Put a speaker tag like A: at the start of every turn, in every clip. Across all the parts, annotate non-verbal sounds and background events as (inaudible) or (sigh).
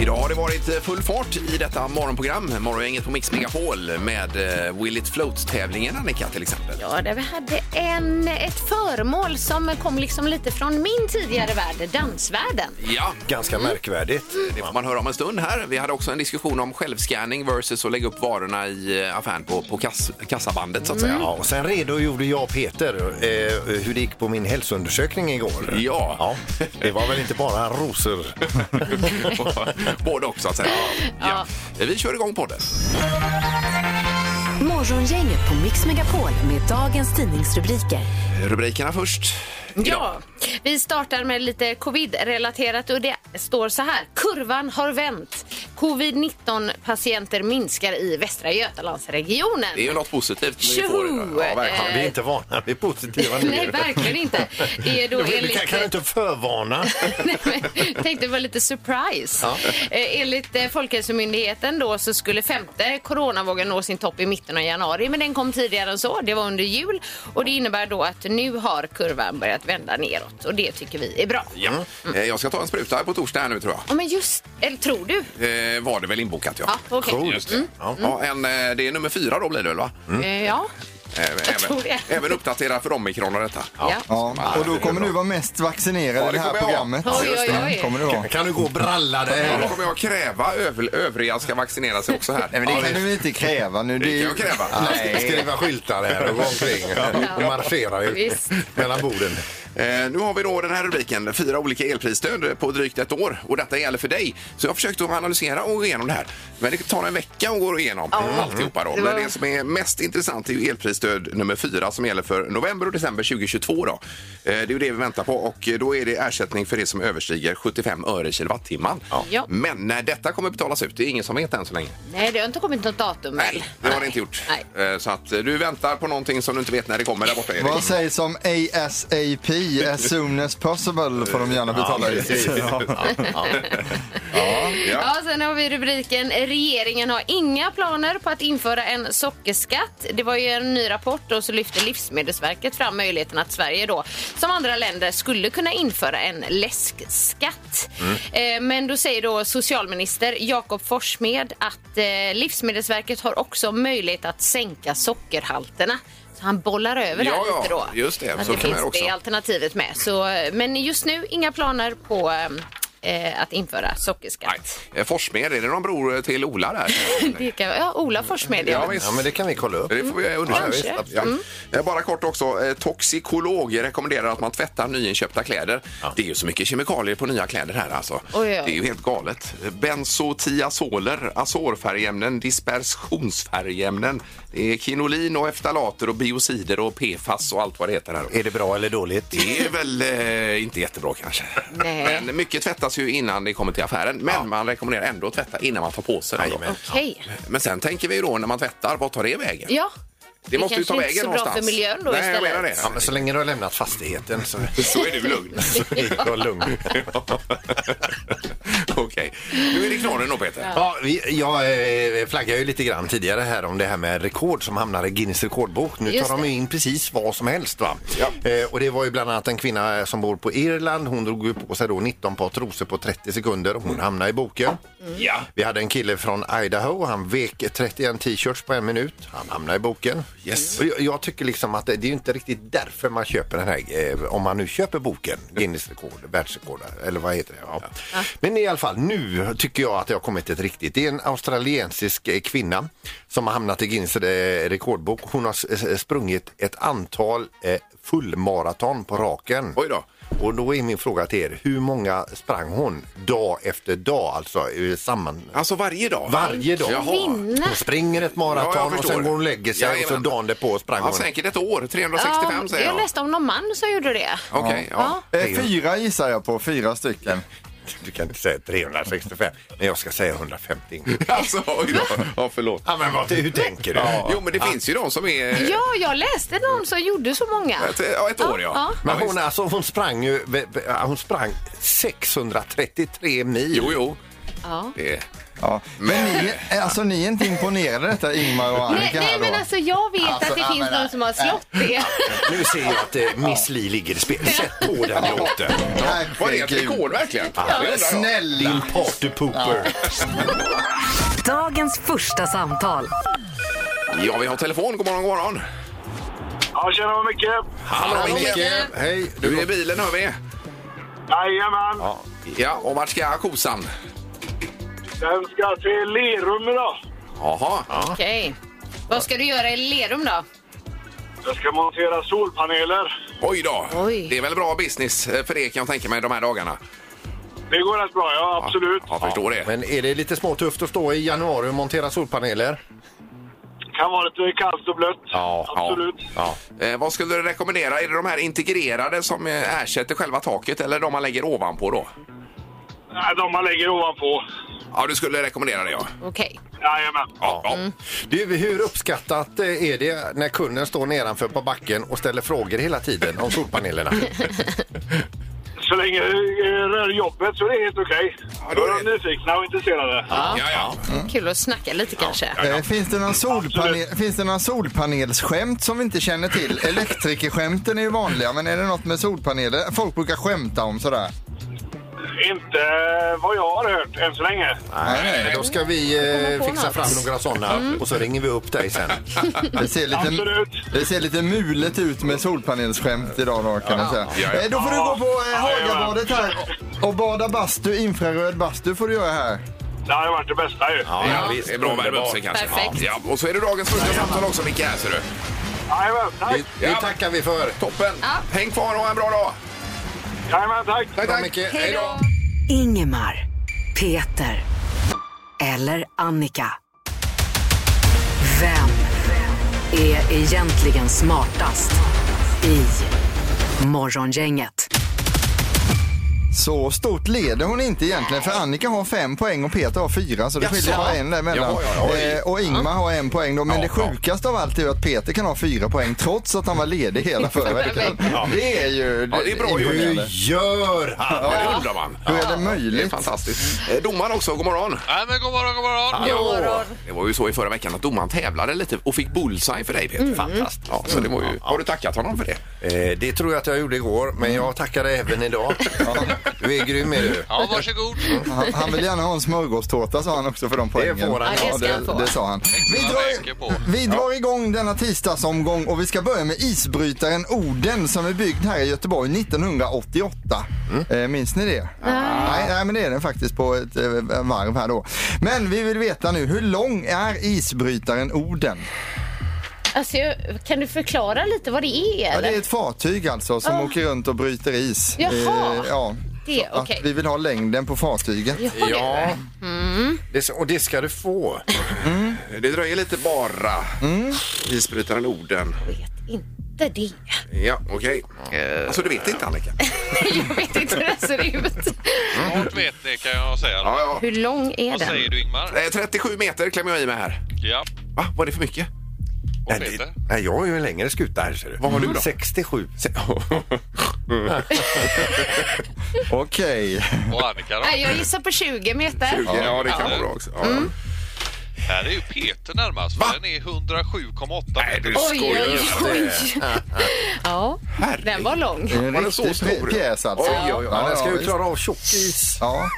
A: Idag har det varit eh, full fart i detta morgonprogram, Morgongänget på Mix Megapol med eh, Will It Float-tävlingen Annika till exempel.
B: Ja, där vi hade en, ett föremål som kom liksom lite från min tidigare värld, dansvärlden.
A: Ja,
C: Ganska märkvärdigt.
A: det får man höra om en stund här. Vi hade också en diskussion om självscanning versus att lägga upp varorna i eh, affären på, på kass, kassabandet så att säga.
C: Ja, och sen redogjorde jag och Peter eh, hur det gick på min hälsoundersökning igår.
A: Ja.
C: det var väl inte bara rosor.
A: Både och så att säga. Ja. Eh, Vi kör igång podden.
D: Morgongänget på Mix Megapol med dagens tidningsrubriker.
A: Rubrikerna först.
B: Ja, vi startar med lite covid-relaterat och det står så här. Kurvan har vänt. Covid-19-patienter minskar i Västra Götalandsregionen.
A: Det är ju något positivt vi får
B: Tjoho!
A: idag. Ja, verkligen.
C: Ja, vi är inte vana vid positiva
B: Nej, verkligen inte. Det är då
C: Vi
B: enligt...
C: kan, kan inte förvarna.
B: (laughs) Nej, men tänkte det var lite surprise.
C: Ja.
B: Eh, enligt eh, Folkhälsomyndigheten då så skulle femte coronavågen nå sin topp i mitten av januari men den kom tidigare än så. Det var under jul och det innebär då att nu har kurvan börjat vända neråt och det tycker vi är bra.
A: Ja. Eh, Jag ska ta en spruta här på torsdag här nu tror jag.
B: Ja, men just, eller tror du?
A: Eh, var det väl inbokat ja.
B: Ja, okej.
A: Just det. Ja. Ja, en, eh, det är nummer fyra då blir det väl va?
B: Eh, Ja.
A: Eh,
B: tror
A: Även,
B: det.
A: även uppdatera för omikron och detta.
B: ja.
E: Ja, och då kommer du vara mest vaccinerad
A: Ja,
E: i
A: det
E: det här
A: kommer jag
E: programmet.
B: vara. Oj, oj, oj.
E: Ja, kommer du vara. Nej,
C: Kan du gå och bralla
A: Ja, Då
C: dig?
A: kommer jag kräva öv, övriga ska vaccinera sig också här.
E: men det kan du inte kräva nu.
A: Det
E: är
A: kan jag
E: ju-
A: kräva.
E: Nej.
C: Skriva skyltar här och gå omkring och marschera ut
B: Visst.
C: mellan borden.
A: Eh, nu har vi då den här rubriken, fyra olika elprisstöd på drygt ett år och detta gäller för dig. Så jag har försökt att analysera och gå igenom det här. Men det tar en vecka att gå igenom Mm. alltihopa då.
B: Det var-
A: Men det som är mest intressant är ju elprisstöd nummer fyra som gäller för november och december 2022 då. Eh, det är ju det vi väntar på och då är det ersättning för det som överstiger 75 öre kilowattimman.
B: Ja.
A: Men när detta kommer betalas ut, det är ingen som vet än så länge.
B: Nej, det har inte kommit något datum väl?
A: Nej, det har det inte gjort.
B: Nej.
A: Eh, Så att eh, du väntar på någonting som du inte vet när det kommer där borta Erik.
E: Vad sägs om ASAP,
A: (laughs)
E: as soon as possible, får de gärna betala ut. (laughs) Ja.
A: Ja.
B: Ja, sen har vi rubriken Regeringen har inga planer på att införa en sockerskatt. Det var ju en ny rapport och så lyfte Livsmedelsverket fram möjligheten att Sverige då som andra länder skulle kunna införa en läskskatt.
A: Mm.
B: Eh, men då säger då socialminister Jakob Forssmed att eh, Livsmedelsverket har också möjlighet att sänka sockerhalterna. Så han bollar över det
A: Ja,
B: här lite
A: ja,
B: då.
A: just det.
B: Att
A: Så
B: det
A: kan
B: finns
A: man också.
B: det alternativet med. Så, eh, men just nu inga planer på eh, att införa sockerskatt.
A: Eh, Forsmed, är det någon bror till Ola där?
B: Det kan, (laughs) ja, Ola Forssmed, ja.
A: Ja, visst.
C: Ja, men det kan vi kolla upp.
A: Det får vi undersöka.
B: Ja, visst,
A: Ja,
B: absolut. Mm.
A: Eh, Bara kort också. eh, Toxikolog rekommenderar att man tvättar nyinköpta kläder. Det är ju så mycket kemikalier på nya kläder här alltså.
B: oj.
A: Det är ju helt galet. Eh, Benzotiazoler, azorfärgämnen, dispersionsfärgämnen. Det är kinolin och eftalater och biocider och PFAS och allt vad det heter här.
C: Är det bra eller dåligt?
A: Det är väl eh, inte jättebra kanske.
B: Nej.
A: Men mycket tvättas ju innan det kommer till affären. Men man rekommenderar ändå att tvätta innan man tar på sig det.
C: Jajamän.
B: Okej.
A: Men sen tänker vi ju då när man tvättar, vad tar det vägen?
B: Ja.
A: Det, måste ju
B: kanske inte
A: ta vägen
B: så bra
A: någonstans.
B: för miljön då
A: Nej,
B: istället.
A: Jag menar det.
C: Ja, men så länge du har lämnat fastigheten så
A: (laughs) Så är du lugn. (laughs)
C: är jag lugn.
A: Okej. Nu är det knorren då Peter.
C: Ja, vi, jag eh, flaggade ju lite grann tidigare här om det här med rekord som hamnar i Guinness rekordbok. Nu
B: Just
C: tar de
B: det.
C: ju in precis vad som helst. Va?
A: Ja.
C: Eh, och det var ju bland annat en kvinna eh, som bor på Irland. Hon drog ju på sig då 19 par trosor på 30 sekunder. Hon hamnade i boken.
A: Ja.
C: Vi hade en kille från Idaho. Han vek 31 t-shirts på en minut. Han hamnade i boken.
A: Yes.
C: Och jag, jag tycker liksom att det, det är ju inte riktigt därför man köper den här, eh, om man nu köper boken, Guinness rekord, världsrekord, eller vad heter det? Ja. Men i alla fall, nu tycker jag att det har kommit ett riktigt. Det är en australiensisk eh, kvinna som har hamnat i Guinness eh, rekordbok. Hon har s- s- sprungit ett antal eh, fullmaraton på raken.
A: Oj då.
C: Och då är min fråga till er, hur många sprang hon dag efter dag, alltså eh, samman...
A: Alltså varje dag?
C: Varje dag.
A: Jaha.
C: Hon springer ett maraton
A: Ja, jag
C: och
A: förstår.
C: sen går hon och lägger sig och så
A: Jajamän.
C: dagen därpå sprang
A: Ja,
C: hon.
A: säkert ett år. 365
B: Ja,
A: säger
B: jag
A: jag.
B: läste om någon man som gjorde det.
A: Okej, ja.
B: Ja.
E: Eh, Fyra gissar jag på, fyra stycken.
C: Du kan inte säga 365, men jag ska säga 150.
A: (laughs) Alltså, oj då. Ja, förlåt.
C: ja, men vad, hur tänker du?
A: Jo, men det finns ju de som är...
B: Ja, jag läste någon som gjorde så många.
A: Ett, ja, ett år, ja.
B: Ja,
C: Men hon, alltså, hon sprang ju hon sprang 633 mil.
A: Jo, jo.
B: Ja.
A: Det är...
E: Ja. Men ni, är- alltså, ni är inte imponerade detta Ingmar och
B: Nej,
E: Annika
B: nej
E: här
B: men
E: då?
B: alltså jag vet
E: Alltså,
B: att det
E: ja,
B: finns
E: men,
B: någon
E: nej,
B: som har
E: nej.
B: slått det.
C: Nu ser jag att eh, Miss Li ligger i spel. Sätt på den låten.
A: Var det ett
E: Herregud.
A: rekord verkligen? Det undrar jag.
C: Din
E: Snälla!
C: party pooper.
D: Dagens första samtal.
A: Ja, vi har telefon. God morgon, god morgon.
F: Ja, tjena Micke!
A: Hallå, Micke.
C: Hej.
A: Du är i bilen, hör vi.
F: Jajamän!
A: Ja, och vart ska kosan?
F: Den ska till Lerum idag.
A: Jaha. Ja.
B: Okej. Vad ska du göra i Lerum då?
F: Jag ska montera solpaneler.
A: Oj då.
B: Oj.
A: Det är väl bra business eh, för er kan jag tänka mig de här dagarna.
F: Det går rätt bra, ja absolut.
A: Ja, jag förstår det.
C: Men är det lite småtufft att stå i januari och montera solpaneler?
F: Kan vara lite kallt och blött.
C: Ja,
A: ja.
F: absolut.
C: Ja.
A: Eh, vad skulle du rekommendera? Är det de här integrerade som eh, ersätter själva taket eller de man lägger ovanpå då?
F: Nej, De man lägger ovanpå.
A: Ja, du skulle rekommendera det ja.
B: Okej.
F: Jajamän.
A: Ja, ja.
C: Du, hur uppskattat eh, är det när kunden står nedanför på backen och ställer frågor hela tiden
A: (laughs)
C: om solpanelerna?
F: Så länge det rör jobbet så är det helt okej.
A: Ja, då
F: Då
A: är
F: är de
A: det-
F: nyfikna och intresserade.
A: ja, ja.
B: Kul att snacka lite kanske.
E: Eh, Finns det, någon solpanel, finns det någon solpanelsskämt som vi inte känner till? Elektrikerskämten är ju vanliga, men är det något med solpaneler? Folk brukar skämta om sådär.
F: Inte vad jag har hört än så länge.
C: Nej, då ska vi
B: Kommer
C: eh,
B: på
C: fixa
B: något.
C: fram några sådana
A: Mm.
C: och så ringer vi upp
A: (laughs)
C: dig sen.
E: Det ser lite,
F: Absolut.
E: det ser lite mulet ut med solpanelsskämt idag då kan man säga.
A: Ja, ja.
E: Eh, Då får du gå på eh,
F: Ja, ja.
E: Hagabadet här och bada bastu, infraröd bastu får du göra här.
F: Det har ju varit det bästa ju.
A: Ja, det är bra att värma upp sig kanske.
B: Perfekt.
A: Ja, och så är det dagens första samtal också Micke här ser du.
F: Jajamän, tack.
C: Det tackar vi för.
A: Toppen! Häng kvar och ha en bra dag!
F: Jajamän, tack.
C: Bra, Micke.
B: Hej då!
D: Ingemar, Peter eller Annika. Vem är egentligen smartast i Morgongänget?
E: Så stort leder hon inte egentligen för Annika har fem poäng och Peter har fyra så det skiljer bara en däremellan.
A: Ja, ja, ja.
E: Eh, och Ingmar har en poäng då men
A: Ja,
E: det
A: ja.
E: sjukaste av allt är ju att Peter kan ha fyra poäng trots att han var ledig hela förra veckan. Det är ju...
A: Ja, det är bra gjort.
C: Hur
E: imponerande.
C: gör han?
A: Ja, det undrar man.
E: Hur är det
A: Det är
E: möjligt?
A: fantastiskt. Eh, Domaren också, god morgon.
G: Nej, men god morgon, god morgon.
A: Hallå! Det var ju så i förra veckan att domaren tävlade lite och fick bullseye för dig Peter.
G: Mm.
A: Fantastiskt. Ja, så det var ju, har du tackat honom för det?
C: Eh, det tror jag att jag gjorde igår, men jag tackar dig även idag.
A: (laughs)
C: Du är grym är du.
G: Ja, varsågod.
E: Han, han vill gärna ha en smörgåstårta sa han också för de poängen.
C: får han.
B: Ja, det ska
E: det,
B: han få.
E: det sa han. Vi drar,
G: tänker på.
E: vi drar igång denna tisdagsomgång och vi ska börja med isbrytaren Oden som är byggd här i Göteborg 1988. Eh, minns ni det? Nej, nej, men det är den faktiskt på ett eh, varv här då. Men vi vill veta nu, hur lång är isbrytaren Oden?
B: Alltså, jag- kan du förklara lite vad det är?
E: Ja,
B: Eller?
E: det är ett fartyg alltså som
B: Ah.
E: åker runt och bryter is. Eh,
B: Jaha.
E: ja.
B: Det,
E: Så att
B: okej.
E: Vi vill ha längden på fartyget.
C: Ja, det, och det ska du få.
A: Det dröjer lite bara. Isbrytaren Orden.
B: Jag vet inte det.
A: Ja, okej. Alltså du vet inte Annika?
B: Jag vet inte hur den ser ut.
G: Snart vet ni kan jag säga.
A: (laughs) Ja, ja.
B: Hur lång är
G: Vad
B: den?
G: säger du Ingmar?
A: Eh, 37 meter klämmer jag i mig här.
G: Ja,
A: Va, var det för mycket?
G: och
C: Nej, det,
G: Peter?
C: nej, jag har ju en längre skuta här ser du.
A: Vad har du då?
C: 67. (laughs)
A: Se-
E: Okej.
G: Och Annika då?
B: Nej, jag gissar på 20 meter.
A: ja, det kan vara bra också. Ja, ja.
G: Här är ju Peter närmast.
A: Va?
G: För den är 107,8
A: Nej, du
G: meter.
B: Oj, oj, oj. Ja, den var lång.
E: Det är en
A: Var den så
E: riktig
A: stor?
E: pj- pjäs alltså.
A: Oj, oj, oj.
C: Ja, den ska ju
E: visst.
C: klara av tjock is.
E: Ja.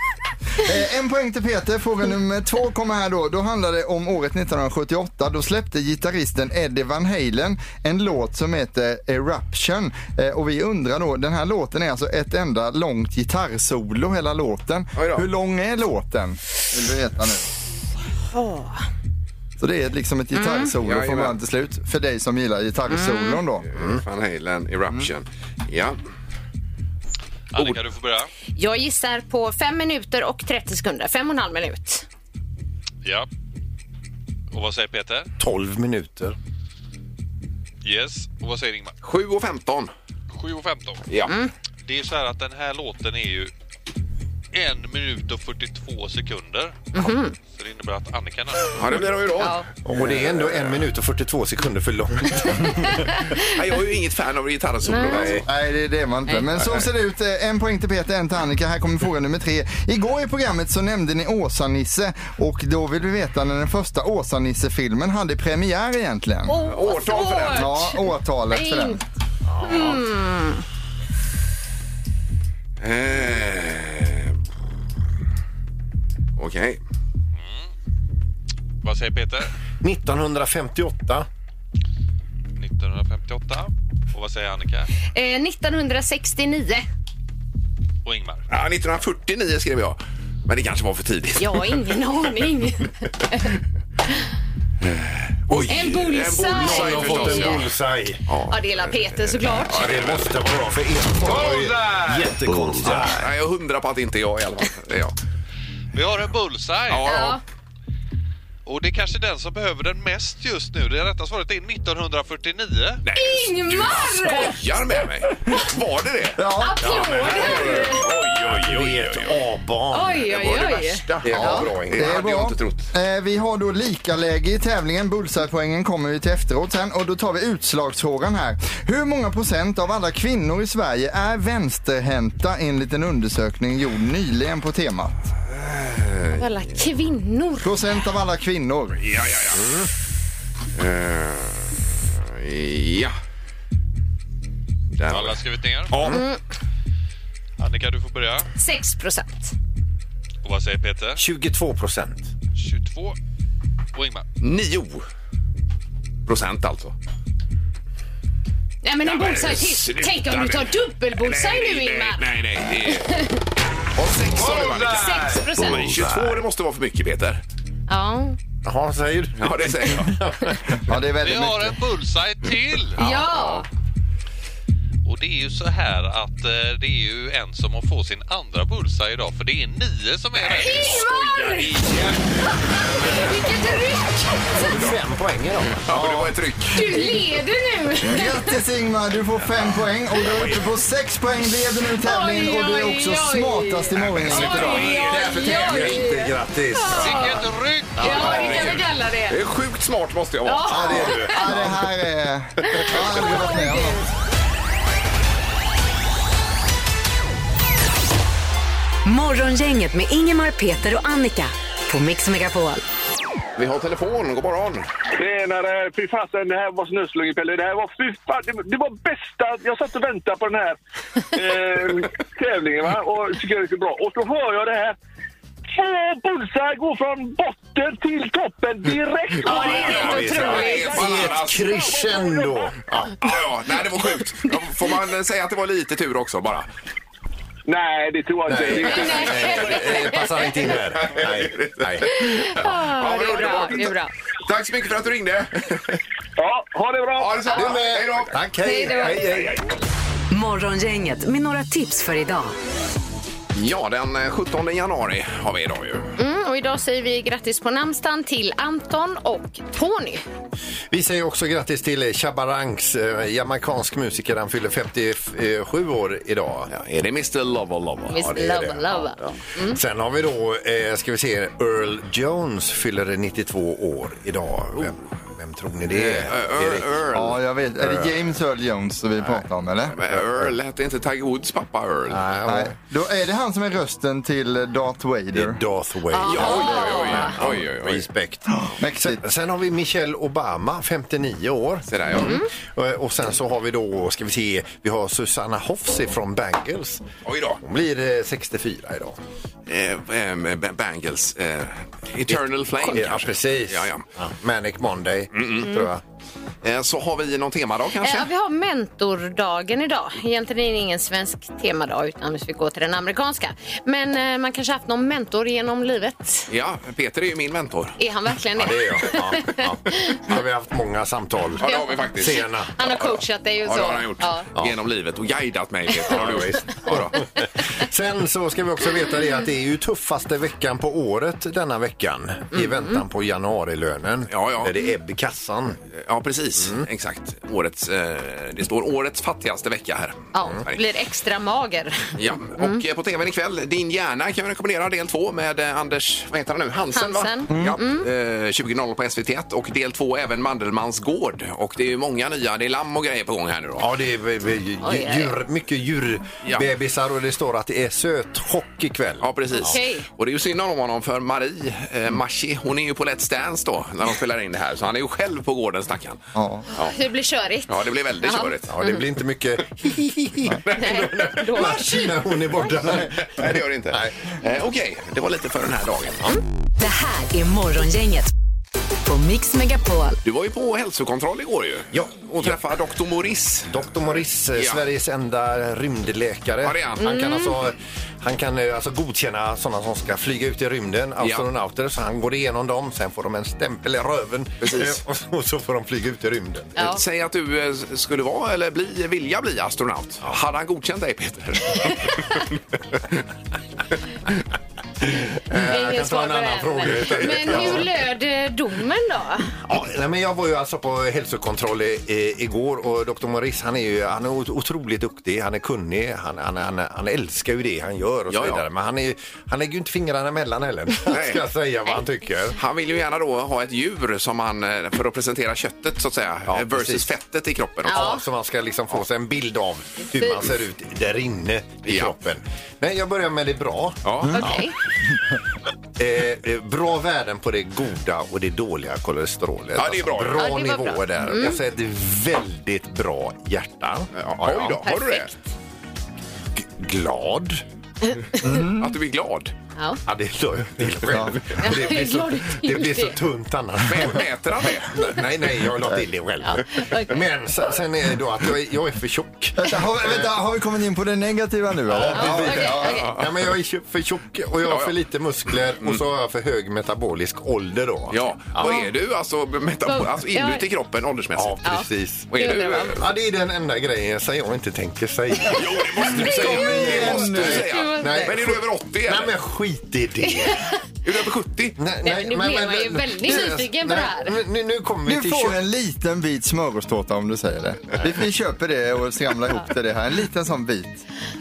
E: Eh, En poäng till Peter. Fråga nummer två kommer här då. Då handlar det om året 1978. Då släppte gitarristen Eddie Van Halen en låt som heter Eruption. Eh, Och vi undrar då, den här låten är alltså ett enda långt gitarrsolo hela låten.
A: Oj då.
E: Hur lång är låten? Vill du veta nu? Så det är liksom ett gitarrsolo från
A: Mm. Jajamän.
E: början till slut för dig som gillar gitarrsolon då.
A: Van Halen, Eruption. Ja.
G: Annika, du får börja.
B: Jag gissar på 5 minuter och 30 sekunder. 5 och en halv minut.
G: Ja. Och vad säger Peter?
C: 12 minuter.
G: Yes. Och vad säger Ingmar?
A: 7 och 15.
G: 7,15.
A: Ja.
B: Mm.
G: Det är så här att den här låten är ju 1 minut och 42 sekunder.
B: Mhm.
G: Så det innebär att Annika är
A: Ja, det blir det ju då.
B: Ja.
C: Och det är ändå en minut och 42 sekunder för långt.
A: (laughs) Nej, jag är ju inget fan av gitarrsolon. Alltså.
E: Nej, det är det man inte. Men så ser det ut. Eh, En poäng till Peter, en till Annika. Här kommer fråga nummer tre. Igår i programmet så nämnde ni Åsa-Nisse och då vill vi veta när den första Åsa-Nisse-filmen hade premiär egentligen.
B: Åh, vad
A: Årtal för den.
B: svårt.
E: Ja, årtalet för den.
A: Eh, Okej.
G: Vad säger Peter?
C: 1958.
G: 1958. Och vad säger Annika?
B: Eh, 1969.
G: Och Ingmar?
A: Ja, 1949 skrev jag. Men det kanske var för tidigt.
B: Jag har ingen aning.
A: Oj,
B: En bullseye.
A: bullseye
B: Jag har
A: förstås,
B: fått en
A: ja.
C: bullseye.
B: Ja, det är la Peter såklart.
C: Ja, det måste vara bra för er.
A: Bullseye!
C: Jättekonstigt.
A: Nej, jag hundrar på att det inte är jag i alla fall. Det är jag.
G: Vi har en bullseye.
A: Ja, ja.
B: Ja.
G: Och det är kanske den som behöver den mest just nu. Det rätta svaret är 1949.
A: Nej,
B: Ingmar!
A: skojar med mig. Var det det?
E: Ja,
B: Applåder!
C: Oj, oj, oj. A-barn.
B: Oj,
A: Det
B: oj,
A: var det
B: oj.
A: värsta. Det
E: Ja,
A: var bra, Ingmar.
E: det
A: Det
E: är
A: hade jag
E: bra.
A: inte trott.
E: Eh, vi har då lika läge i tävlingen. Bullseye-poängen kommer vi till efteråt sen. Och då tar vi utslagsfrågan här. Hur många procent av alla kvinnor i Sverige är vänsterhänta enligt en undersökning gjord nyligen på temat?
B: Alla kvinnor.
E: Procent av alla kvinnor.
A: Ja, ja, ja. Eh, ja. Där var
G: Alla har
A: det.
G: skrivit ner.
A: Ja.
E: Mm.
G: Annika, du får börja.
B: 6 procent.
G: Och vad säger Peter?
C: 22 procent.
G: 22. Och Ingmar?
A: 9 procent alltså.
B: Nej, men en
A: men
B: bullseye till.
A: sluta
B: Tänk om du
A: nu.
B: tar dubbelbullseye nu, Ingmar.
A: Nej, nej, nej. Det är... (laughs) Och sex sa du, Annika.
B: 6 procent.
A: 22 det måste vara för mycket, Peter.
B: Ja.
C: Jaha, säger du?
A: Ja,
B: (laughs)
A: det säger jag.
E: Ja, det är
G: Vi
E: väldigt
G: har
E: mycket.
G: en bullseye till!
B: Ja.
G: Och det är ju så här att eh, det är ju en som har fått sin andra bullseye idag för det är nio som är rätt.
B: Ingmar! (laughs) Vilket ryck!
C: Fem poäng idag.
A: Ja, det var ett tryck.
B: Du leder nu.
E: Grattis Ingmar, du får fem poäng och du är uppe på sex poäng. Leder nu tävlingen och du är också
B: Oj, oj, oj.
E: smartast i morgongänget idag.
B: Oj, oj, oj.
C: Grattis!
G: Vilket ryck!
B: Ja, det kan vi kalla det.
A: Det är sjukt smart måste jag vara.
B: Ja.
E: Ja, det här är... Ja, det har aldrig varit med om.
D: Morgongänget med Ingemar, Peter och Annika på Mix Megapol.
A: Vi har telefon, god morgon.
F: Tränare, fy fasen, det här var snöslungig Pelle. Det här var fy fan, det, det var bästa. Jag satt och väntade på den här eh, tävlingen va? och tycker det är så bra. Och så hör jag det här. Två bullsar går från botten till toppen direkt.
B: Ja, det är helt otroligt.
C: Ett crescendo!
A: Ja, ja, ja, nej det var sjukt. Ja, Får man säga att det var lite tur också bara?
F: Nej, det tror jag inte. Det är inte.
C: Nej, Det passar inte in här. Nej, nej.
B: Ja, det är bra. Det är bra.
A: Tack så mycket för att du ringde.
F: Ja, ha det bra!
A: Ha det så bra. Hej då.
C: Tack,
B: Hej
C: hej!
B: då.
C: hej, hej, hej.
D: Morgongänget med några tips för idag.
A: Ja, den eh, 17 januari har vi idag ju.
B: Mm, och idag säger vi grattis på namnsdagen till Anton och Tony.
C: Vi säger också grattis till Chabarangs, jamaicansk musiker. Han fyller 57 år idag.
A: Ja, är det Mr Lover Lover?
B: Miss
C: det är det.
B: Love Love.
C: Mm. Sen har vi då, eh, ska vi se, Earl Jones fyller 92 år idag. Vem, vem tror ni det är? Erik?
E: Ja, jag vet. Är det James Earl Jones som vi pratar om, eller?
A: Men Earl, hette inte Tiger Woods pappa Earl?
C: Nej,
E: Nej. Då är det han som är rösten till Darth
C: det är
E: Vader.
C: Darth Vader.
A: Ja, oj, oj, oj. oj, oj, oj.
C: Respekt.
E: Mäktigt.
C: Sen har vi Michelle Obama, 59 år.
A: Se där, ja.
C: Eh, Och sen så har vi då, ska vi se, vi har Susanna Hoffsi från Bangles.
A: Oj då.
C: Hon blir eh, 64 idag.
A: Eh, eh, B- Bangles. Eh, Eternal Flame.
C: Ja, precis.
A: Ja, Mm, ja.
C: Manic Monday, tror jag.
A: Eh, Så har vi någon temadag kanske?
B: Ja, Eh, vi har mentordagen idag. Egentligen är det ingen svensk temadag utan vi går till den amerikanska. Men eh, man kanske haft någon mentor genom livet.
A: Ja, Peter är ju min mentor.
B: Är han verkligen det?
C: Ja, det är jag. Ja, ja. Då har vi haft många samtal.
A: Ja, det har vi faktiskt.
C: Sena.
B: Han har coachat dig och
A: Ja,
B: så.
A: det har han gjort.
B: Ja.
C: (laughs)
A: Genom livet och guidat mig, Peter. Har du gjort. Ja, då.
C: Sen så ska vi också veta det att det är ju tuffaste veckan på året denna veckan i väntan på januarilönen.
A: Mm, Ja, ja. Eh,
C: Där det är ebb i kassan.
A: Ja, precis. Exakt. Årets, eh, det står årets fattigaste vecka här.
B: Ja,
A: Mm.
B: blir extra mager.
A: Ja, och eh, på tvn ikväll, Din hjärna kan vi rekommendera del två med eh, Anders, vad heter han nu, Hansen,
B: Hansen.
A: va? Ja, eh, 20.00 på SVT1 och del två även Mandelmans gård. Och det är ju många nya, det är lamm och grejer på gång här nu då.
C: Ja, det är vi- vi-
B: Oj, oj, oj.
C: djur, mycket
A: Ja.
C: djurbebisar och det står att det är sötchock ikväll.
A: Ja, precis.
B: Okej.
A: Och det är ju synd om honom för Marie eh, Mashi, hon är ju på Let's Dance då när de spelar in det här. Så han är ju själv på gården stackarn.
E: Ja.
B: Det blir körigt.
A: Ja, det blir väldigt
B: Ja.
C: (laughs)
A: körigt.
C: Ja, det blir
B: (laughs)
C: inte mycket
B: Nej, (laughs) då.
C: när hon är borta.
A: Nej, det gör det inte. Eh, Okej, det var lite för den här dagen.
D: Det här är Morgongänget på Mix Megapol.
A: Du var ju på hälsokontroll igår ju.
C: Ja.
A: Och träffade doktor Morris.
C: Dr. Morris, eh,
A: Ja.
C: Sveriges enda rymdläkare.
A: Ja, det är han.
C: han.
B: Mm.
C: kan alltså, han kan eh, alltså godkänna sådana som ska flyga ut i rymden, astronauter. Så han går igenom dem, sen får de en stämpel i röven
A: Precis.
C: Eh, och så- (laughs) och så får de flyga ut i rymden.
B: Ja.
A: Säg att du eh, skulle vara eller bli, vilja bli astronaut. Hade han godkänt dig (laughs) Peter?
C: Eh, jag kan ta en annan fråga.
B: Men hur löd eh, domen då?
C: Ja, nej, men jag var ju alltså på hälsokontroll i, i, igår och Dr. Morris han är ju han är ot- otroligt duktig, han är kunnig, han, han, han, han älskar ju det han gör och så
A: Ja, ja.
C: vidare. Men han, är, ju- han lägger ju inte fingrarna emellan heller,
A: Nej.
C: (laughs) ska jag säga vad han tycker.
A: Han vill ju gärna då ha ett djur som han, eh, för att presentera köttet så att säga,
C: Ja,
A: eh, versus
C: precis.
A: fettet i kroppen.
B: Ja.
C: Ja, så man ska liksom få sig en bild av hur man ser ut där inne i
A: Ja.
C: kroppen. Men jag börjar med det bra.
A: Ja.
B: Okej.
C: Eh, eh, bra värden på det goda och det dåliga kolesterolet. Alltså,
A: Ja, det är bra. Mm.
C: bra
B: Ja, det var bra.
C: nivåer där. Och så ett väldigt bra hjärta.
A: Ja, oj då, har du det?
B: Perfekt.
C: G- Glad.
A: Mm. Att du är glad.
B: Ja.
C: Ja, det la jag till själv. Det blir
B: Ja,
C: så,
B: du
C: det
B: gjorde
C: blir så
B: det.
C: tunt annars.
A: Mä- Mäter han det?
C: Nej, nej, jag la till det själv.
B: okej.
C: Men sen, sen är det då att jag är, jag är för tjock.
E: Vänta, har, vänta, har vi kommit in på det negativa nu eller?
B: Ja, okej, okej.
C: Ja, men jag är tjo- för tjock och jag
A: Ja,
C: har
A: ja.
C: för lite muskler och så har jag för hög metabolisk ålder då.
A: Ja. Vad är du alltså, metabol, alltså inuti
B: Ja.
A: kroppen åldersmässigt?
C: Ja, precis.
A: Vad är
B: Det
A: du?
B: undrar man.
C: Ja, det är den enda grejen som jag inte
A: (laughs)
C: tänker säga.
A: Jo, det måste du säga. Det måste du säga.
C: Nej.
A: Men är du över 80
C: Nej,
A: eller?
C: men skit i det.
A: Är du över 70?
C: Nej,
B: Nej, nu blev jag ju väldigt nyfiken på det här.
C: Nu, nu, nu kommer vi
E: Du
C: till
E: får
C: kött.
E: en liten bit smörgåstårta om du säger det. Vi, vi köper det och skramlar ihop det här. En liten sån bit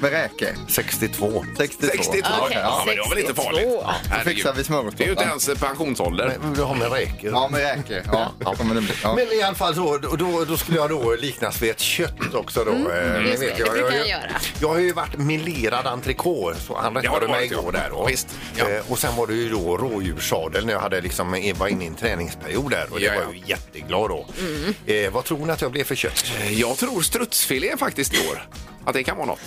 E: med räkor.
C: 62.
E: 62.
A: 62?
B: Okej,
A: Ja, men det var väl inte
B: 62.
A: farligt? Ja, herregud.
E: fixar vi smörgåstårta.
A: Det är ju inte ens eh, pensionsålder.
C: Men Du har med räkor.
E: Ja, med räkor. Ja, kommer det bli. Ja.
C: Men i alla fall så, då, då, då skulle jag då liknas vid ett kött också då. eh, ni
B: Mm, just det. Det brukar jag göra.
C: Jag har ju varit melerad entrecôte, så han
A: Det har
C: rättade
A: du
C: mig
A: varit,
C: igår
A: ja.
C: där då.
A: Visst, ja.
C: Eh, Och sen var det ju då rådjurssadel när jag hade liksom, eh, var inne i en träningsperiod där och det
A: Ja, ja.
C: var jag ju jätteglad då.
B: Mm.
C: Eh, vad tror ni att jag blev för kött?
A: Jag tror strutsfilé faktiskt i år. Att det kan vara något.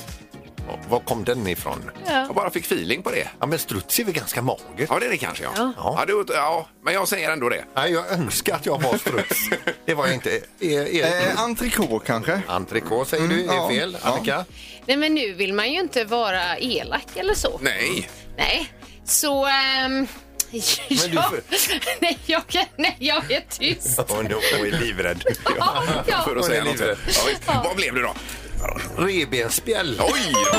C: Var kom den ifrån?
A: Jag bara fick feeling på det.
C: Ja men struts är väl ganska mager?
A: Ja, det är det kanske ja. Ja.
B: Ja.
A: du, ja men jag säger ändå det.
C: Nej, jag önskar att jag var
E: (laughs)
C: struts. det var jag inte. Är, är...
E: Eh, entrecote kanske?
C: Entrecote säger du är
E: ja.
C: fel,
E: Ja.
C: Annika.
B: Nej, men nu vill man ju inte vara elak eller så.
A: Nej.
B: Nej. Så... ehm, ja.
C: får-
B: (laughs) nej, jag kan... nej, jag är tyst.
C: Och nu och är livrädd.
B: Ja, ja.
A: För
C: Hon
A: att
C: är
A: säga något. Ja,
C: livrädd.
A: visst. Vad blev du då?
C: Revbensspjäll.
A: Oj då!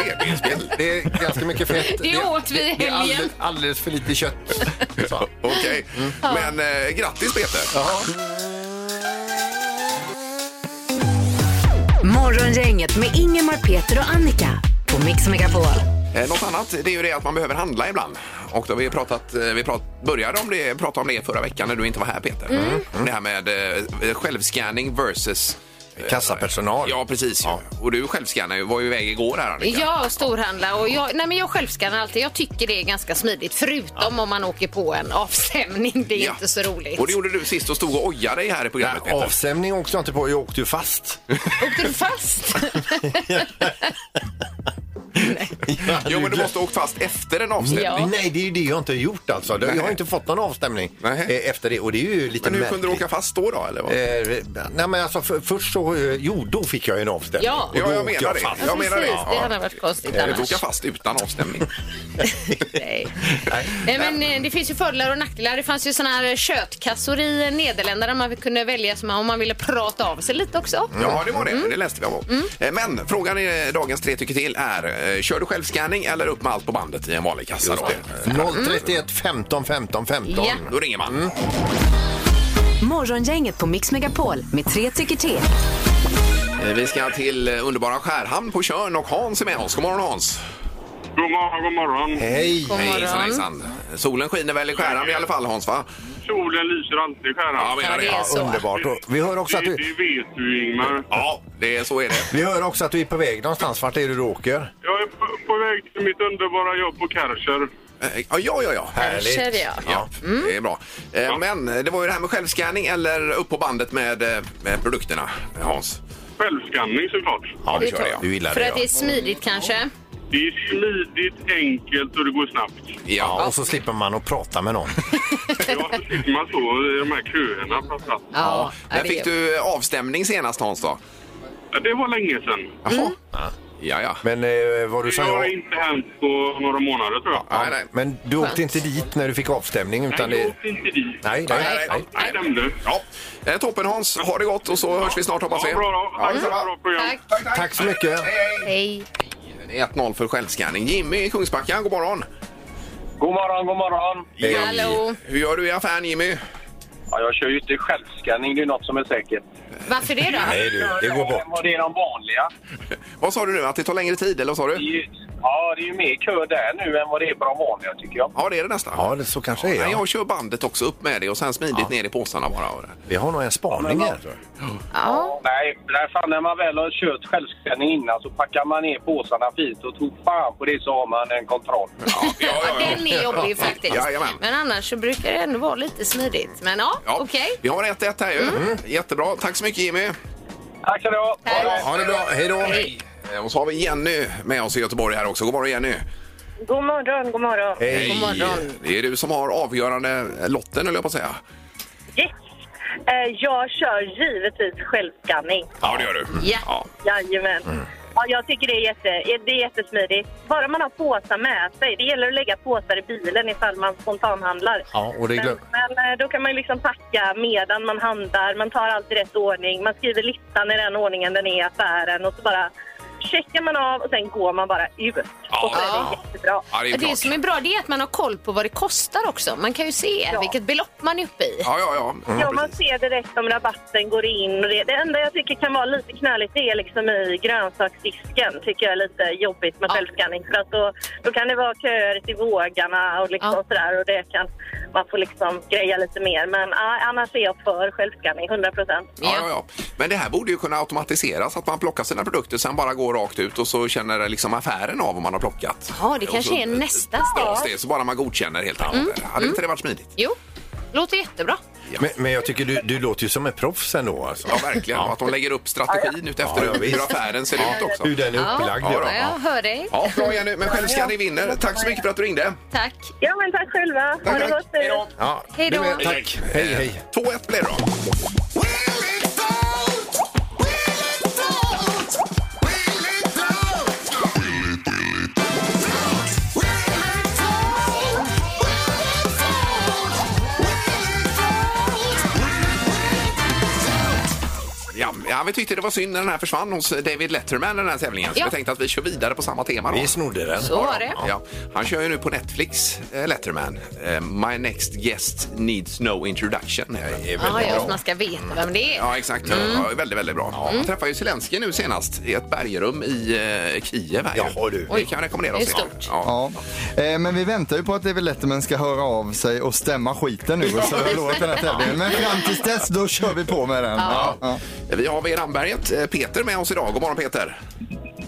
A: Revbensspjäll.
C: Det är ganska mycket fett.
B: Det åt vi i
C: Det är
B: helgen.
C: alldeles, alldeles för lite kött. Så.
A: Okej. Men eh, grattis Peter.
D: Morgongänget med Ingemar, Peter och Annika på Mix Megapol.
A: Eh, något annat det är ju det att man behöver handla ibland. Och då har vi pratat, eh, vi prat, började om det, prata om det förra veckan när du inte var här Peter.
B: Mm.
A: Mm. Det här med eh, självscanning versus
C: Kassapersonal.
A: Ja, precis. ju. Och du självscannar ju, var ju iväg igår här Annika.
B: Ja, storhandla. Och jag, nej, men jag självskannar alltid. Jag tycker det är ganska smidigt, förutom om man åker på en avstämning. Det är
A: Ja.
B: inte så roligt.
A: Och det gjorde du sist och stod och ojade dig här i
C: Nej,
A: programmet Peter.
C: avstämning åkte jag inte på. Jag åkte ju fast.
B: Åkte du
C: (laughs)
B: fast?
A: Jo, men du måste ha åkt fast efter en avstämning.
B: Ja.
C: Nej, det är ju det jag inte har gjort alltså. Jag
A: Nej.
C: har inte fått någon avstämning
A: Nej.
C: eh, efter det. Och det är ju lite
A: Men hur kunde du
C: märkligt.
A: åka fast då, då eller vad?
C: Eh, nej men alltså för, först så, eh, jo då fick jag ju en avstämning.
B: Ja.
C: Och då
A: Ja, jag
C: åkte
A: menar det.
C: fast.
A: Jag menar det.
B: Precis, det hade
A: Ja.
B: varit konstigt
A: Eller
B: annars. Mm.
A: boka fast utan avstämning.
B: Nej. Nej, men eh, det finns ju fördelar och nackdelar. Det fanns ju såna här köttkassor i eh, Nederländerna man kunde välja som om man ville prata av
A: Mm.
B: sig lite också. Mm.
A: Ja, det var det. Det läste vi om. Eh, Men frågan i eh, dagens tre tycker till är, eh, kör du Självscanning eller upp med allt på bandet i en vanlig kassa. Då,
C: 031 15 15 15.
B: Ja.
A: då ringer man.
D: Morgongänget på Mix Megapol med tre tycker till.
A: Eh, Vi ska till eh, underbara Skärhamn på Tjörn och Hans är med oss. God morgon Hans!
F: God morgon, god morgon.
C: Hej!
B: God
A: Hejsan,
B: morgon.
A: hejsan. Solen skiner väl i Skärhamn i alla fall Hans va?
F: Solen lyser alltid i Skärhamn.
A: jag menar
B: Ja, det är så.
C: Underbart. Och vi hör också att du...
F: vet du, Ingmar.
A: Ja, det är, så är det.
C: Vi hör också att du är på väg någonstans. Vart är du du åker?
F: Jag är på, på väg till mitt underbara jobb på Kärcher.
A: Eh, Ja, ja, ja. ja.
B: Känner jag. Mm.
A: Ja, det är bra. Eh, Men eh, det var ju det här med självscanning eller upp på bandet med, eh, med produkterna, Hans.
F: Självskanning såklart.
A: Ja,
B: det är klart.
A: Ja. Mm.
C: Du gillar
B: För
C: det,
B: att det är smidigt kanske.
F: Det är smidigt, enkelt och det går snabbt.
C: ja.
A: Ja.
C: Och så slipper man att prata med någon.
F: Ja, så sitter man så i de här köerna framför allt.
B: Ja, ja,
A: När
B: det
A: fick
B: är-
A: du avstämning senast, Hans? Då?
F: Ja, Det var länge sedan.
A: Jaha. Ja, ja.
C: Men eh, vad du
F: Det
C: sa
F: har
C: jag...
F: inte hänt på några månader tror jag.
A: Nej, nej.
C: Men du åkte inte dit när du fick avstämning utan
F: Nej, jag
C: det...
F: åkte inte dit.
C: Nej, nej, nej.
F: Det stämde.
A: Ja. Eh, Toppen, Hans. Ha det gott och så hörs vi snart, hoppas vi.
F: Ja, bra då.
A: Ja,
F: Tack för ett bra program.
B: Tack.
C: Tack så mycket.
B: Hej.
A: Det är 1-0 för självscanning. Jimmy i Kungsbacka, god morgon.
H: God morgon, god morgon.
C: Hej.
B: Hallå.
A: Hur gör du i affären, Jimmy?
H: Ja, jag kör ju inte självscanning, det är något som är säkert.
B: Varför det då?
C: Nej du, det går
H: Men
C: bort.
H: vad det är de vanliga.
A: Vad sa du nu? Att det tar längre tid, eller vad sa
H: Det är
A: du?
H: ju, ja, det är ju mer kö där nu än vad det är på de vanliga, tycker jag.
A: Ja, det är det nästan.
C: Ja, det så kanske det
A: Nej,
C: är. Ja.
A: jag kör bandet också upp med det och sen smidigt ner i påsarna bara.
C: Vi har nog en spaning här.
B: Ja.
H: Nej, nej fan, när man väl har kört självscanning innan så packar man ner påsarna fint och tog fan på det så har man en kontroll.
A: Ja, ja, ja, ja.
B: Den är jobbig faktiskt.
A: Jajamän.
B: Men annars så brukar det ändå vara lite smidigt. Men ja,
A: Ja.
B: okej.
A: Vi har 1-1 här ju.
C: Mm.
A: Jättebra. Tack så mycket Jimmy.
H: Tack ska du ha! Ha det.
C: Ha det bra, hej då!
A: Eh, Och så har vi Jenny med oss i Göteborg här också. God morgon Jenny.
I: God morgon, god morgon.
C: Hej!
B: God morgon.
A: Det är du som har avgörande lotten höll jag på att säga.
I: Yes. Eh, jag kör givetvis självskanning.
A: Ja, det gör du.
B: Ja.
I: Jajamän.
C: Mm.
I: Ja, jag tycker det är, jätte, det är jättesmidigt. Bara man har påsar med sig. Det gäller att lägga påsar i bilen ifall man spontanhandlar.
C: Ja, och det glöm...
I: Men, men eh, då kan man ju liksom packa medan man handlar. Man tar allt i rätt ordning. Man skriver listan i den ordningen den är i affären och så bara checkar man av och sen går man bara ut. Och så är det jättebra.
A: Ja, det är
B: Det
A: klart.
B: som är bra det är att man har koll på vad det kostar också. Man kan ju se vilket belopp man är uppe i.
A: Ja, ja, ja.
I: Ja,
A: Mm,
I: man
A: precis.
I: ser direkt om rabatten går in. Och det, det enda jag tycker kan vara lite knöligt det är liksom i grönsaksdisken. tycker jag är lite jobbigt med
B: Ja.
I: självskanning. För att då, då kan det vara köer till vågarna och liksom
B: Ja.
I: sådär. Och det kan man får liksom greja lite mer. Men ja, annars är jag för självskanning, 100 procent.
A: Ja, ja, ja. Men det här borde ju kunna automatiseras, att man plockar sina produkter sen bara går rakt ut och så känner liksom affären av om man har plockat.
B: Ja, det
A: Och
B: kanske
A: så-
B: är nästa
A: Ja,
B: steg. Mm.
A: det är Så bara man godkänner helt enkelt. Hade inte det varit smidigt?
B: Jo, låter jättebra.
C: Men, men jag tycker du, du låter ju som ett proffs ändå. Alltså.
A: Ja, verkligen. Och Att de lägger upp strategin utefter
C: Ja, ja,
A: hur
C: visst.
A: affären ser ut också.
C: Hur den är upplagd.
A: Ja,
B: Ja,
C: Ja,
B: jag hör dig.
A: Ja, bra Jenny, men själv ska ni vinner. Tack så mycket för att du ringde.
B: Tack.
I: Ja, men tack själva. ha det gott nu.
C: ja.
B: Hej då.
C: Du med, Tack. Hej, hej.
A: 2-1 blir det då. Ja, ja, vi tyckte det var synd när den här försvann hos David Letterman den här tävlingen. Så
B: Ja.
A: vi tänkte att vi kör vidare på samma tema då.
C: Vi snodde den.
B: Så var det.
A: Ja, han kör ju nu på Netflix, eh, Letterman. Eh, My next guest needs no introduction. heter den.
C: Det är
B: Ja,
C: väldigt
B: ja, att
C: bra.
B: man ska veta vem det är.
A: Ja, exakt.
B: Mm.
A: Ja, väldigt, väldigt bra. Jag träffade ju Zelensky nu senast i ett bergrum i eh, Kiev. Här. ju.
C: Jaha, du.
A: Det kan jag rekommendera.
B: Det är
A: oss.
B: stort.
A: Ja.
E: Ja. Eh, men vi väntar ju på att David Letterman ska höra av sig och stämma skiten nu och så har vi förlorat den här tävlingen. Men fram tills dess, då kör vi på med den. Ja. Ja.
A: Vi har vid Ramberget eh, Peter med oss idag. God morgon Peter!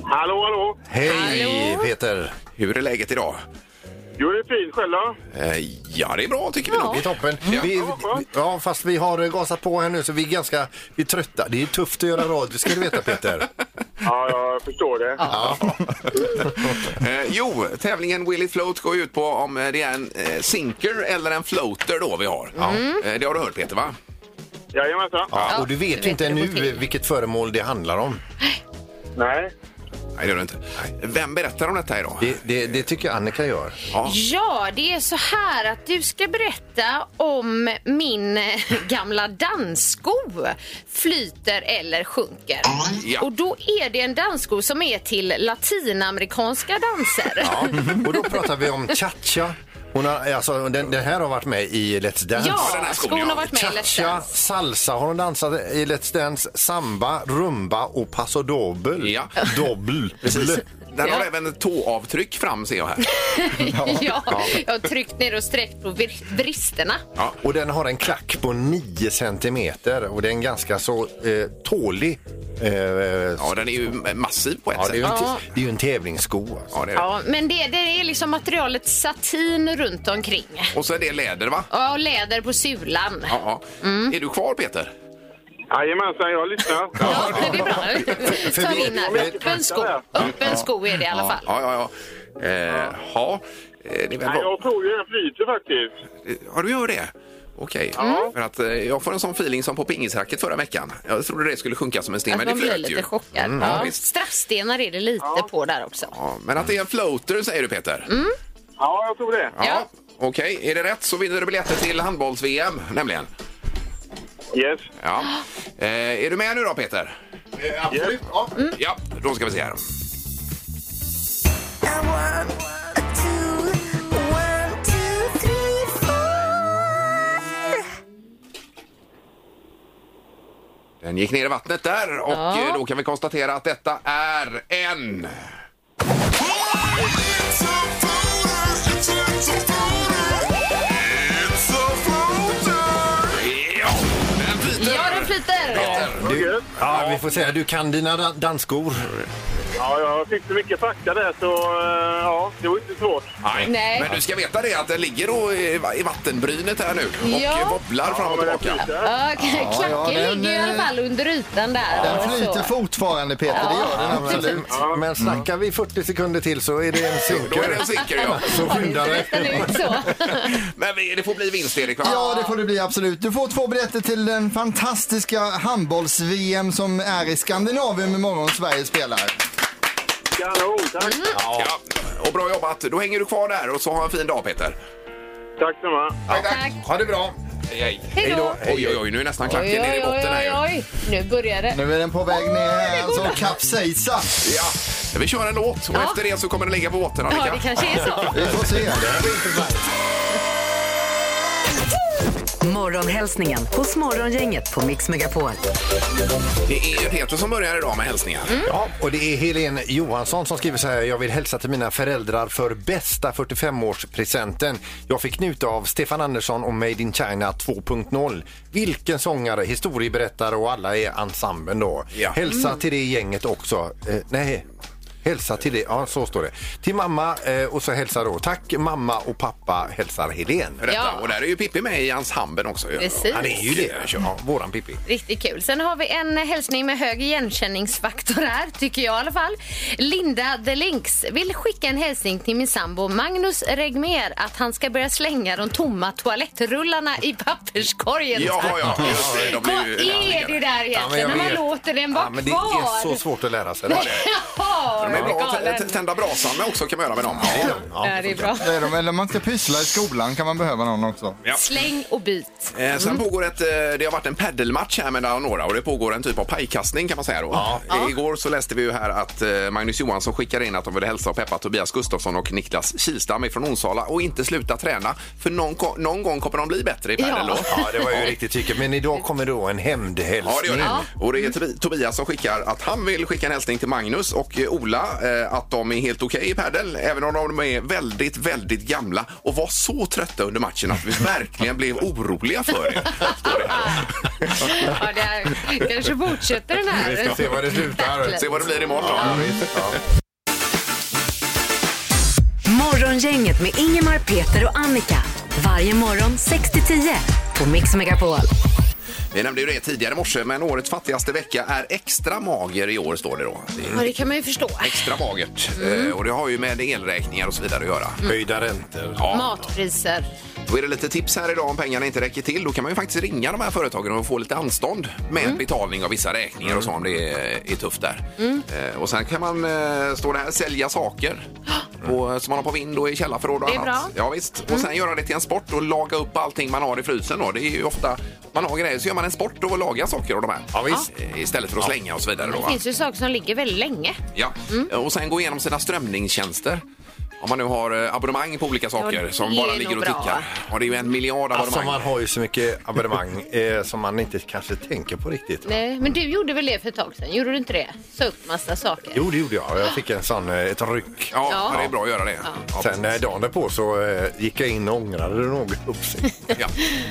F: Hallå, hallå.
C: Hej, Peter.
A: Hur är läget idag?
F: Jo, det är fint. Själv då?
A: Eh, ja, det är bra tycker vi
C: Det är
A: nog.
C: toppen. Vi, ja, fast vi har gasat på här nu så vi är ganska vi är trötta. Det är tufft att göra radio ska du veta Peter.
F: Ja, jag förstår det.
A: Eh, jo, tävlingen Will it float går ju ut på om eh, det är en eh, sinker eller en floater då vi har.
B: Mm.
A: Eh, det har du hört Peter va?
F: Jajamensan.
C: Ja, och du vet
B: vet
C: ju inte
B: hur det går
C: ännu
B: till.
C: vilket föremål det handlar om.
F: Nej.
A: Nej, det gör det inte. Vem berättar om detta idag?
C: Det, det, det tycker jag Annika gör.
A: Ja.
B: Ja, det är så här att du ska berätta om min (laughs) eh, gamla danssko flyter eller sjunker.
A: Ja.
B: Och då är det en danssko som är till latinamerikanska danser.
C: Ja. Och då pratar vi om cha-cha. Hon har, alltså, den, den här har varit med i Let's
B: (laughs)
C: Dance.
B: Ja,
A: den här skon,
B: skon
A: ja.
B: har varit med i Let's
C: Cha-cha,
B: Dance.
C: salsa har hon dansat i Let's Dance, samba, rumba och paso doble.
A: Ja.
C: Dobbel.
A: Precis. Den har
B: Ja.
A: även tåavtryck fram ser jag här.
B: ja, jag har tryckt ner och sträckt på vir- bristerna.
C: Och den har en klack på 9 centimeter och det är en ganska så eh, tålig... Eh, ja,
A: Ja, den är ju massiv på ett
C: det är
A: sätt.
C: ju en,
B: Ja.
C: det är ju en tävlingssko. Alltså.
A: Ja, det är det.
B: Ja, men det, det är liksom materialet satin runt omkring.
A: Och så är det läder, va?
B: Ja, och läder på sulan.
A: Ja, ja.
B: Mm.
A: Är du kvar, Peter?
F: Jajamensan, jag lyssnar.
B: Ja, det är bra. (laughs) Ta
C: vi-
B: in här. Öppen sko. Öppen sko är det i alla fall.
A: Ja, ja, ja. Eh, ja. Eh, det är väl bra.
F: tror ju den flyter faktiskt.
A: Ja, du gör det? Okej.
B: Mm.
A: För att eh, jag får en sån feeling som på pingisracket förra veckan. Jag trodde det skulle sjunka som en sten,
B: Att
A: men
B: man
A: det
B: blir
A: flöt
B: lite
A: ju.
B: chockad.
A: ja,
B: ja.
A: visst.
B: Straffstenar är det lite på där också.
A: Ja, men att det är en floater, säger du, Peter?
B: Mm,
F: Ja, jag tror det.
A: Ja. Okej, är det rätt så vinner du biljetter till handbolls-VM, nämligen.
F: Yes.
A: Ja. Eh, är du med nu då, Peter?
F: Absolut.
C: Ja.
B: Mm.
A: Ja, då ska vi se här. Den gick ner i vattnet där och
B: Ja.
A: eh, då kan vi konstatera att detta är en... Ja, den flyter!
B: Ja, den flyter!
C: Du, ja, vi får säga du kan dina dan- dansskor.
F: Ja, jag fick så mycket fakta där så eh, ja, det var inte svårt.
A: Nej.
B: Nej.
A: Men du ska veta det att den ligger då i i vattenbrynet här nu och
B: Ja.
A: eh, wobblar fram och
F: men den
A: tillbaka.
F: flyter.
B: Ja, klacken
E: ja, den,
B: ligger ju i alla
E: eh,
B: fall under ytan där.
E: Den
B: och så.
E: flyter fortfarande Peter, det gör den absolut.
C: Men snackar vi 40 sekunder till så är det en
A: Då är
C: synker.
A: den säker, ja.
C: Så skynda dig.
B: Den är ut så.
A: Men vi- det får bli vinst, Erik. va?
E: Ja, det får det bli absolut. Du får två biljetter till den fantastiska handbolls-VM som är i Skandinavien imorgon Sverige spelar.
F: Kanon, tack.
A: Ja. Och bra jobbat. Då hänger du kvar där och så ha en fin dag, Peter.
F: Tack så mycket.
A: Tack,
B: Tack.
A: Ha det bra. Hej, hej.
B: Hej då.
A: Oj, oj, oj, nu är nästan klacken
B: Oj,
A: nere i
B: oj,
A: botten
B: oj,
A: här
B: oj,
A: ju.
B: oj. Nu börjar det.
E: Nu är den på väg ner här,
B: går
E: alltså kapsejsa.
A: Ja. Vi kör en låt och
B: Ja.
A: efter det så kommer den ligga på botten,
B: Ja, det
A: Annika.
B: kanske är så.
E: Vi får se.
D: Morgonhälsningen hos Morgongänget på Mix Megapol.
A: Det är ju Peter som börjar idag med hälsningar.
B: Mm.
C: Ja, och det är Helene Johansson som skriver så här. Jag vill hälsa till mina föräldrar för bästa 45-årspresenten. Jag fick njuta av Stefan Andersson och Made in China 2.0. Vilken sångare, historieberättare och alla i ensemblen då.
A: Ja.
C: Hälsa till det gänget också. Eh, nej. Hälsa till det, ja så står det. Till mamma eh, och så hälsa då. Tack mamma och pappa hälsar Helen.
A: För detta.
B: Ja.
A: Och där är ju Pippi med i ensemblen också. ju.
B: Precis.
A: Han är ju det.
C: Ja, våran Pippi.
B: Riktigt kul. Sen har vi en hälsning med hög igenkänningsfaktor här, tycker jag i alla fall. Linda The Links vill skicka en hälsning till min sambo Magnus Regmer att han ska börja slänga de tomma toalettrullarna i papperskorgen.
A: Jaha, ja. Just det. De
B: Vad
A: blir ju
B: är det där
C: Ja, men
B: egentligen?
C: jag
B: när man
C: vet.
B: låter den vara
C: ja, men Det
B: kvar?
C: är så svårt att lära sig. Det.
B: (laughs) Jaha,
A: De
B: det
A: är
B: är
A: bra att t-
B: galen.
A: tända brasan med också kan man göra med dem.
B: Ja, det är bra.
E: Det är de, eller om man ska pyssla i skolan kan man behöva någon också.
A: Ja.
B: Släng och byt.
A: Eh, sen pågår ett, eh, det har varit en paddelmatch här mellan några och det pågår en typ av pajkastning kan man säga då. I- Igår så läste vi ju här att eh, Magnus Johansson skickade in att de ville hälsa och peppa Tobias Gustafsson och Niklas Kilstam ifrån Onsala och inte sluta träna för någon, ko- någon gång kommer de bli bättre i padel
B: Ja.
A: då.
C: Ja, det var ju riktigt tycker Men idag kommer då en hämndhälsning.
A: Ja, det gör det. Och det är Tobi- Tobias som skickar att han vill skicka en hälsning till Magnus och eh, Ola eh, att de är helt okej i padel, även om de är väldigt, väldigt gamla och var så trötta under matchen att vi verkligen blev oroliga för er. Står det här.
C: (laughs)
B: Ah. Ja, det är, kanske fortsätter den här.
C: Vi ska se var det slutar.
A: Se vad det blir imorgon då.
D: Morgongänget med Ingemar, Peter och Annika. Varje morgon 6 till 10 på Mix Megapol.
A: Vi nämnde ju det tidigare i morse, men årets fattigaste vecka är extra mager i år, står det då. Det är
B: Ja, det kan man ju förstå.
A: Extra magert. Eh, och det har ju med elräkningar och så vidare att göra.
C: Höjda räntor.
A: Ja.
B: Matpriser.
A: Då är det lite tips här idag om pengarna inte räcker till. Då kan man ju faktiskt ringa de här företagen och få lite anstånd med
B: Mm.
A: betalning av vissa räkningar och så om det är, är tufft där.
B: Mm.
A: Eh, och sen kan man, eh, står det här,
B: (gasps)
A: sälja saker och, eh, som man har på vind och i källarförråd och
B: Det är
A: annat.
B: bra. Mm.
A: Ja, visst. Och sen göra det till en sport och laga upp allting man har i frysen. Då. Det är ju ofta man har grejer så gör man en sport av att laga saker och de här.
C: Ja, visst.
A: Eh, Istället för att slänga och så vidare. Då,
B: Det
A: va?
B: finns ju saker som ligger väldigt länge.
A: Ja.
B: Mm.
A: Eh, Och sen gå igenom sina strömningstjänster. Om man nu har eh, abonnemang på olika saker
B: det
A: som
B: är
A: bara
B: nog
A: ligger och
B: bra.
A: tickar. Ja, det är ju en miljard
C: Alltså
A: abonnemang.
C: man har ju så mycket abonnemang eh, som man inte kanske tänker på riktigt.
B: Nej, men du gjorde väl det för ett tag sedan? Gjorde du inte det? Sa upp massa saker.
C: Jo, det gjorde jag. Jag fick en sån, eh, ett ryck.
A: Ja,
B: Ja.
A: det är bra att göra det. Ja.
C: Sen eh, dagen därpå så eh, gick jag in och ångrade det något upp sig.
A: Ja.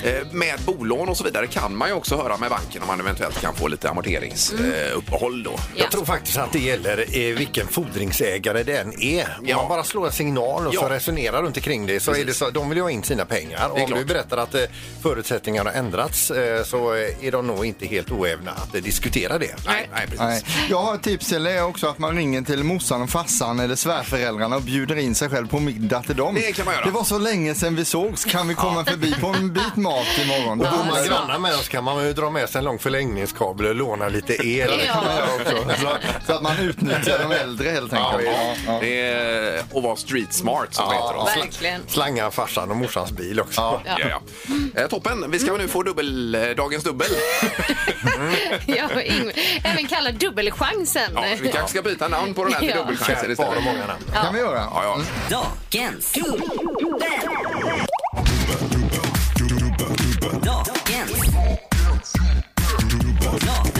A: Eh, Med bolån och så vidare kan man ju också höra med banken om man eventuellt kan få lite amorteringsuppehåll då.
B: Mm. Ja.
C: Jag tror faktiskt att det gäller eh, vilken fordringsägare den är. Om
A: Ja.
C: man bara slår en signal och
A: Ja.
C: så resonerar runt omkring det så är det så de vill ju ha in sina pengar.
A: Det är
C: Om du
A: klart.
C: berättar att eh, förutsättningarna har ändrats eh, så eh, är de nog inte helt oävna att eh, diskutera det.
A: Nej, nej, precis.
E: Nej. (laughs) Jag har ett tips till er också att man ringer till morsan och farsan eller svärföräldrarna och bjuder in sig själv på middag till dem.
A: Det kan man göra.
E: Det var så länge sedan vi sågs. Kan vi komma förbi på en bit mat imorgon?
C: Och bor man grannar med oss kan man ju dra med sig en lång förlängningskabel och låna lite el.
B: Ja.
E: kan man göra
C: (laughs)
E: också. Så, så att man utnyttjar de äldre helt enkelt.
A: Ja, Det är att vara street smart som det heter. då.
B: Verkligen.
C: Slanga farsan och morsans bil också.
A: Ja. Ja, Eh, Toppen! Vi ska
B: Mm.
A: väl nu få dubbel, eh,
B: (laughs)
A: dagens dubbel.
B: (laughs) Ja, och Ingmar- även kallad dubbelchansen.
A: Ja, vi kanske ska byta namn på den här till
B: Ja.
A: dubbelchansen
C: Kär par och
A: istället.
C: många namn.
E: kan vi göra.
A: Ja, ja.
D: Dagens dubbel. Dagens.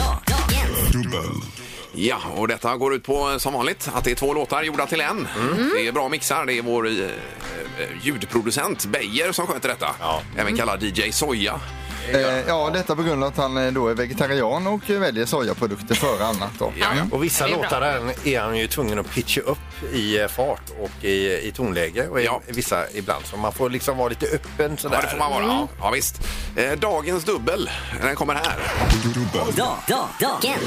D: Dagens.
A: Ja, och detta går ut på eh, som vanligt att det är två låtar gjorda till en.
C: Mm.
A: Det är bra mixar. Det är vår eh, eh, ljudproducent Beijer som sköter detta. Även kallad DJ Soja.
E: Eh, ja, detta på grund av att han eh, då är vegetarian och eh, väljer sojaprodukter före annat. Då. Mm.
C: Och vissa
B: Det är bra.
C: låtar är- är han ju tvungen att pitcha upp i eh, fart och i, i tonläge och i,
A: Ja.
C: vissa ibland. Så man får liksom vara lite öppen sådär. Mm.
A: Ja, det får man vara. Ja, ja, visst. Eh, Dagens dubbel, den kommer här.
D: Dagens.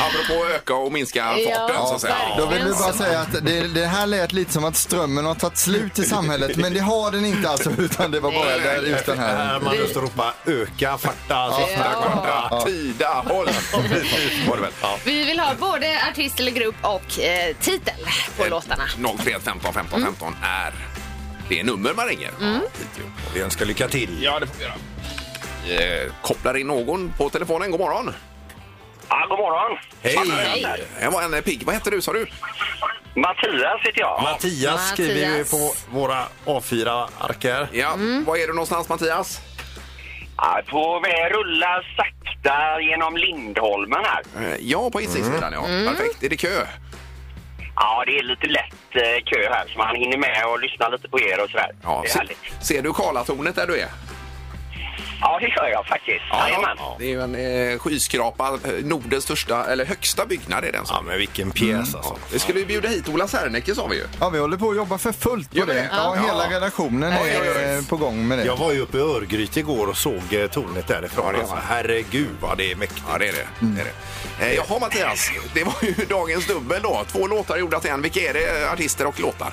A: Apropå öka och minska
B: Ja,
A: farten så att säga.
E: Då
B: verkligen.
E: vill vi bara säga att det, det här lät lite som att strömmen har tagit slut i samhället, men det har den inte alltså, (laughs) utan det var bara där ut den här.
C: Här man just ropa öka, farta, sista kvarta.
A: Ja. Tida, håll! Precis, var det väl.
B: Vi vill ha både artist eller grupp och eh, titel på låtarna.
A: 03 15 15
C: Mm.
A: 15 är det nummer man ringer.
C: Vi önskar lycka till.
A: Ja, det får vi göra. Vi, eh, kopplar in någon på telefonen. God morgon!
H: Ja, god morgon.
C: Hej!
A: Det var en eh, pigg. Vad heter du, sa du?
H: Mattias heter jag.
C: Mattias skriver vi
B: Mattias.
C: på våra A4-ark här.
A: Ja,
H: Mm.
A: var är du någonstans, Mattias?
H: Ja, på väg rulla sakta genom Lindholmen här.
A: Eh, Ja, på
H: Mm.
A: Hisingssidan, ja. Perfekt. Är det kö?
H: Ja, det är lite lätt eh, kö här så man hinner med och lyssna lite på er och sådär.
A: Ja.
H: det är
A: Se,
H: härligt.
A: ser du Karlatornet där du är?
H: Ja, det gör jag faktiskt. Jajamän.
A: Det är ju en eh, skyskrapa, eh, Nordens största, eller högsta byggnad är den. som-
C: Ja, men vilken pjäs alltså.
A: Vi skulle ju bjuda hit Ola Serneke sa vi ju.
E: Ja, vi håller på att jobba för fullt på
A: Gör vi
E: det.
A: det?
E: Ja,
A: Ja.
E: hela redaktionen
A: Oj, oj, oj.
E: är eh, på gång med
C: (laughs) Jag
E: det.
C: var ju uppe i Örgryte igår och såg eh, tornet därifrån. Alltså, herregud vad det är mäktigt.
A: Ja, det är det.
H: Mm.
A: det, är det. Eh, jaha, Mattias. Det var ju (laughs) dagens dubbel då. Två låtar gjorda till en. Vilka är det, eh, artister och låtar?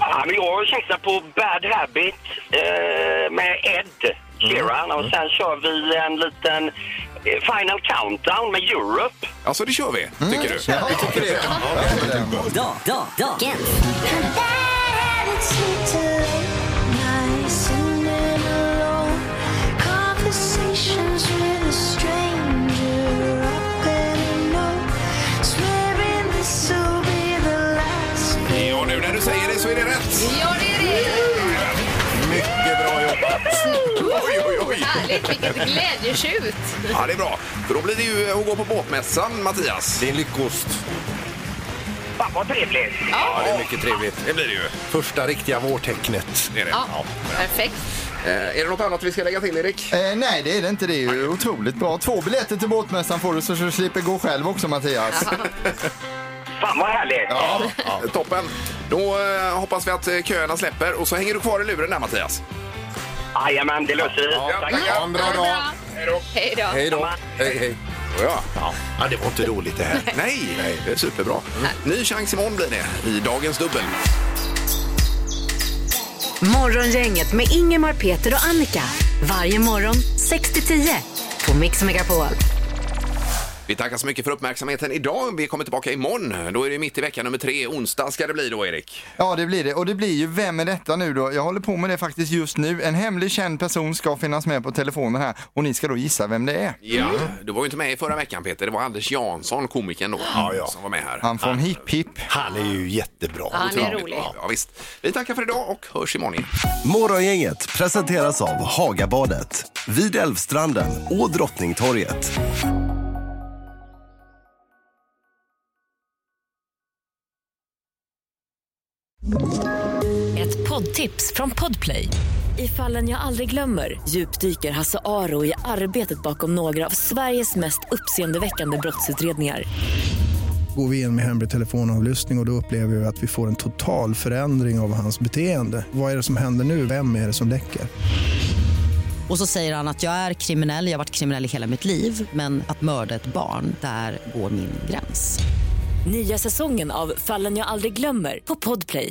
H: Ja, men jag chansar på Bad Habit eh, med
A: Mm.
H: Ed Sheeran och sen kör vi en liten eh, Final Countdown med Europe.
A: Alltså, det kör vi,
H: Mm.
A: tycker du?
E: Ja, vi tycker det. Ja,
D: Dagens.
A: Ja, nu när du säger det så är det rätt.
B: Ja, det är det!
C: Mycket bra jobbat.
A: Oj, oj, oj.
B: Härligt, vilket glädjetjut!
A: Ja, det är bra. För då blir det ju att gå på båtmässan, Mattias.
C: Det är en lyckost.
H: Fan, vad trevligt!
C: Ja, det är mycket trevligt.
A: Det blir det ju.
C: Första riktiga vårtecknet.
A: Det är, det.
B: Ja, perfekt.
A: Eh, är det något annat vi ska lägga till, Erik?
E: Eh, nej, det är det inte. Det är ju otroligt bra. Två biljetter till båtmässan får du så du slipper gå själv också, Mattias.
H: Fan vad härligt!
A: Ja, Toppen. Då eh, hoppas vi att eh, köerna släpper och så hänger du kvar i luren där Mattias.
H: Jajamän, det löser vi.
C: Ja,
H: Tack.
C: ha en bra dag.
B: Hej då.
C: Hej då. Hej, hej.
A: Ja.
C: Ja, det var inte roligt det här.
A: Nej, det är superbra. Ny chans imorgon blir det i dagens dubbel.
D: Morgongänget med Ingemar, Peter och Annika. Varje morgon 6 till 10 på Mix Megapol.
A: Vi tackar så mycket för uppmärksamheten idag. Vi kommer tillbaka imorgon. Då är det mitt i vecka nummer tre. Onsdag ska det bli då, Erik.
E: Ja, det blir det. Och det blir ju Vem är detta nu då? Jag håller på med det faktiskt just nu. En hemlig känd person ska finnas med på telefonen här och ni ska då gissa vem det är.
A: Ja, Mm. du var ju inte med i förra veckan Peter. Det var Anders Jansson, komikern då,
C: ja.
A: som var med här.
E: Han från Hipp Hipp.
C: Han är ju jättebra.
B: Ja, han är
A: Otroligt.
B: rolig.
A: Ja, visst. Vi tackar för idag och hörs imorgon igen.
J: Morgongänget presenteras av Hagabadet, vid Älvstranden och Drottningtorget.
K: Ett poddtips från Podplay. I fallen jag aldrig glömmer djupdyker Hasse Aro i arbetet bakom några av Sveriges mest uppseendeväckande brottsutredningar.
L: Går vi in med hemlig telefonavlyssning och, och då upplever vi att vi får en total förändring av hans beteende. Vad är det som händer nu? Vem är det som läcker?
K: Och så säger han att jag är kriminell, jag har varit kriminell i hela mitt liv men att mörda ett barn, där går min gräns. Nya säsongen av Fallen jag aldrig glömmer på Podplay.